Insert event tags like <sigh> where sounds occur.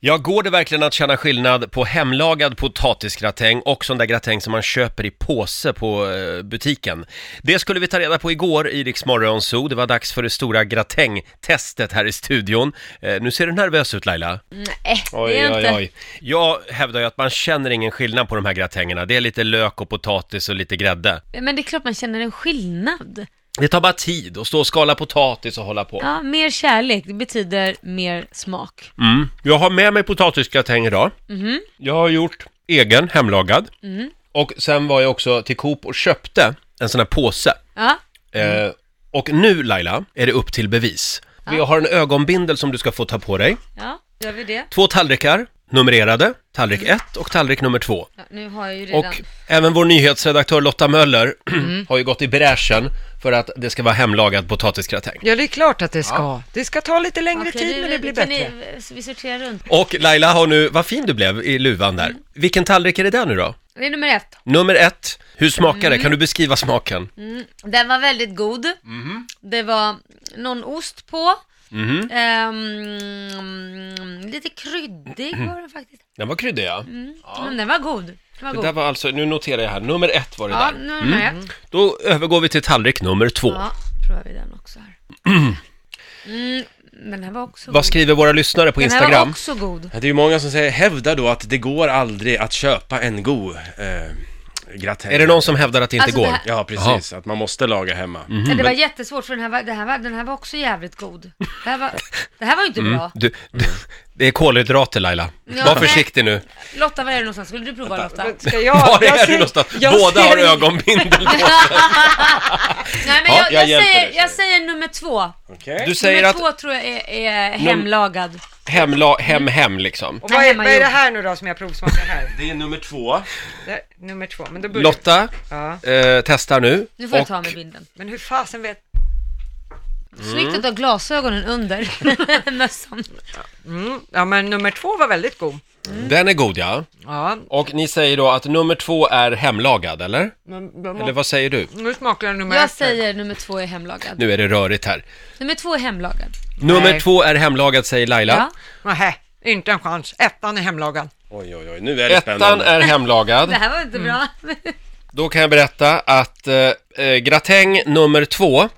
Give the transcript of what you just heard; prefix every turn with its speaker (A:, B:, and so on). A: Ja, går det verkligen att känna skillnad på hemlagad potatisgratäng och sån där gratäng som man köper i påse på eh, butiken? Det skulle vi ta reda på igår i Rix Morgon Zoo. Det var dags för det stora gratängtestet här i studion. Eh, nu ser du nervös ut Laila.
B: Nej, Eh, det är inte.
A: Jag hävdar ju att man känner ingen skillnad på de här gratängerna. Det är lite lök och potatis och lite grädde.
B: Men det är klart man känner en skillnad.
A: Det tar bara tid att stå och skala potatis och hålla på.
B: Ja, mer kärlek, det betyder mer smak.
A: Mm. Jag har med mig potatisgratäng idag. Jag har gjort egen, hemlagad. Och sen var jag också till Coop och köpte en sån här påse.
B: Ja,
A: Eh, och nu Laila, är det upp till bevis. Vi har en ögonbindel som du ska få ta på dig.
B: ja, gör vi det.
A: Två tallrikar, numrerade. Tallrik 1 och tallrik nummer 2.
B: Ja, nu har jag ju redan...
A: Och även vår nyhetsredaktör Lotta Möller <clears throat> har ju gått i bräschen för att det ska vara hemlagad potatisgratäng.
C: Ja, det är klart att det ska. Det ska ta lite längre
B: Okej,
C: tid,
B: nu-
C: men det blir
B: kan
C: bättre.
B: Ni, så vi sorterar runt.
A: Och Laila har nu, vad fin du blev i luvan där. Vilken tallrik är det där nu då?
B: Det är nummer ett.
A: Nummer ett, hur smakar
B: Mm.
A: det? Kan du beskriva smaken?
B: Den var väldigt god.
A: Mhm.
B: Det var någon ost på. Ehm, lite kryddig var den faktiskt.
A: Den var kryddig Mhm. ja.
B: Mm. Men den var god. Den var
A: Det
B: god.
A: där var alltså, nu noterar jag här, nummer ett var Mm. det
B: Ja,
A: där.
B: nu är den här.
A: Då övergår vi till tallrik nummer två.
B: Ja, provar vi den
A: <clears throat>
B: också här. Mm, den här var också
A: Vad
B: god.
A: skriver våra lyssnare på
B: Den här var
A: Instagram?
B: också god.
D: Ja, Det är ju många som säger, hävdar då att det går aldrig att köpa en god eh, gratäng.
A: Är det någon som Mhm. hävdar att det inte
B: Alltså,
A: går?
B: det här-
D: Ja, precis. Att man måste laga hemma.
B: Ja,
A: Mm.
B: det var jättesvårt för den här var, den här var, den här var också jävligt god. Det här var, det här var ju inte bra.
A: Du, du, det är kolhydrater Laila.
B: Ja,
A: Var
B: nej.
A: försiktig nu.
B: Lotta, var är det någonstans? Skulle du prova Lotta?
C: Ska jag,
A: Var
C: jag
A: är
C: ser-
A: du någonstans?
C: jag
A: Båda har
C: ser-
A: ögonbindel
B: <laughs>
A: på.
B: Nej men
A: Ja,
B: jag, jag,
A: jag hjälper
B: säger,
A: dig.
B: jag säger nummer två.
D: Okej.
A: Du säger
B: nummer
A: att
B: två tror jag är, är hemlagad.
A: hemla, hem, hem liksom.
C: Och vad, är,
B: hemma
C: vad är
B: gjort.
C: det här nu då som jag provsmakar här?
D: Det är nummer två.
C: Det här, nummer två. Men, då börjar...
A: Lotta
C: ja.
A: eh, testar nu.
B: Mm. Nu får jag
A: Och Mm.
B: ta med bilden.
C: men hur fasen vet...
B: Snyggt att du har glasögonen under <laughs> mössan.
C: Mm. Ja, men nummer två var väldigt god.
B: Mm.
A: Den är god ja.
C: Ja,
A: Och ni säger då att nummer två är hemlagad eller?
C: men de-
A: Eller vad säger du?
C: nu smakar jag nummer
B: Jag
C: ett.
B: säger nummer två är hemlagad.
A: Nu är det rörigt här.
B: Nummer två är hemlagad.
A: Nummer
C: Nej.
A: två är hemlagad säger Laila.
B: Ja.
C: Nähä, inte en chans. Ettan är hemlagad.
D: Oj, oj, oj. Nu är det
A: Ettan
D: spännande.
A: är hemlagad.
B: Det här
A: Mm.
B: var inte bra.
A: Då kan jag berätta att eh, eh, gratäng nummer två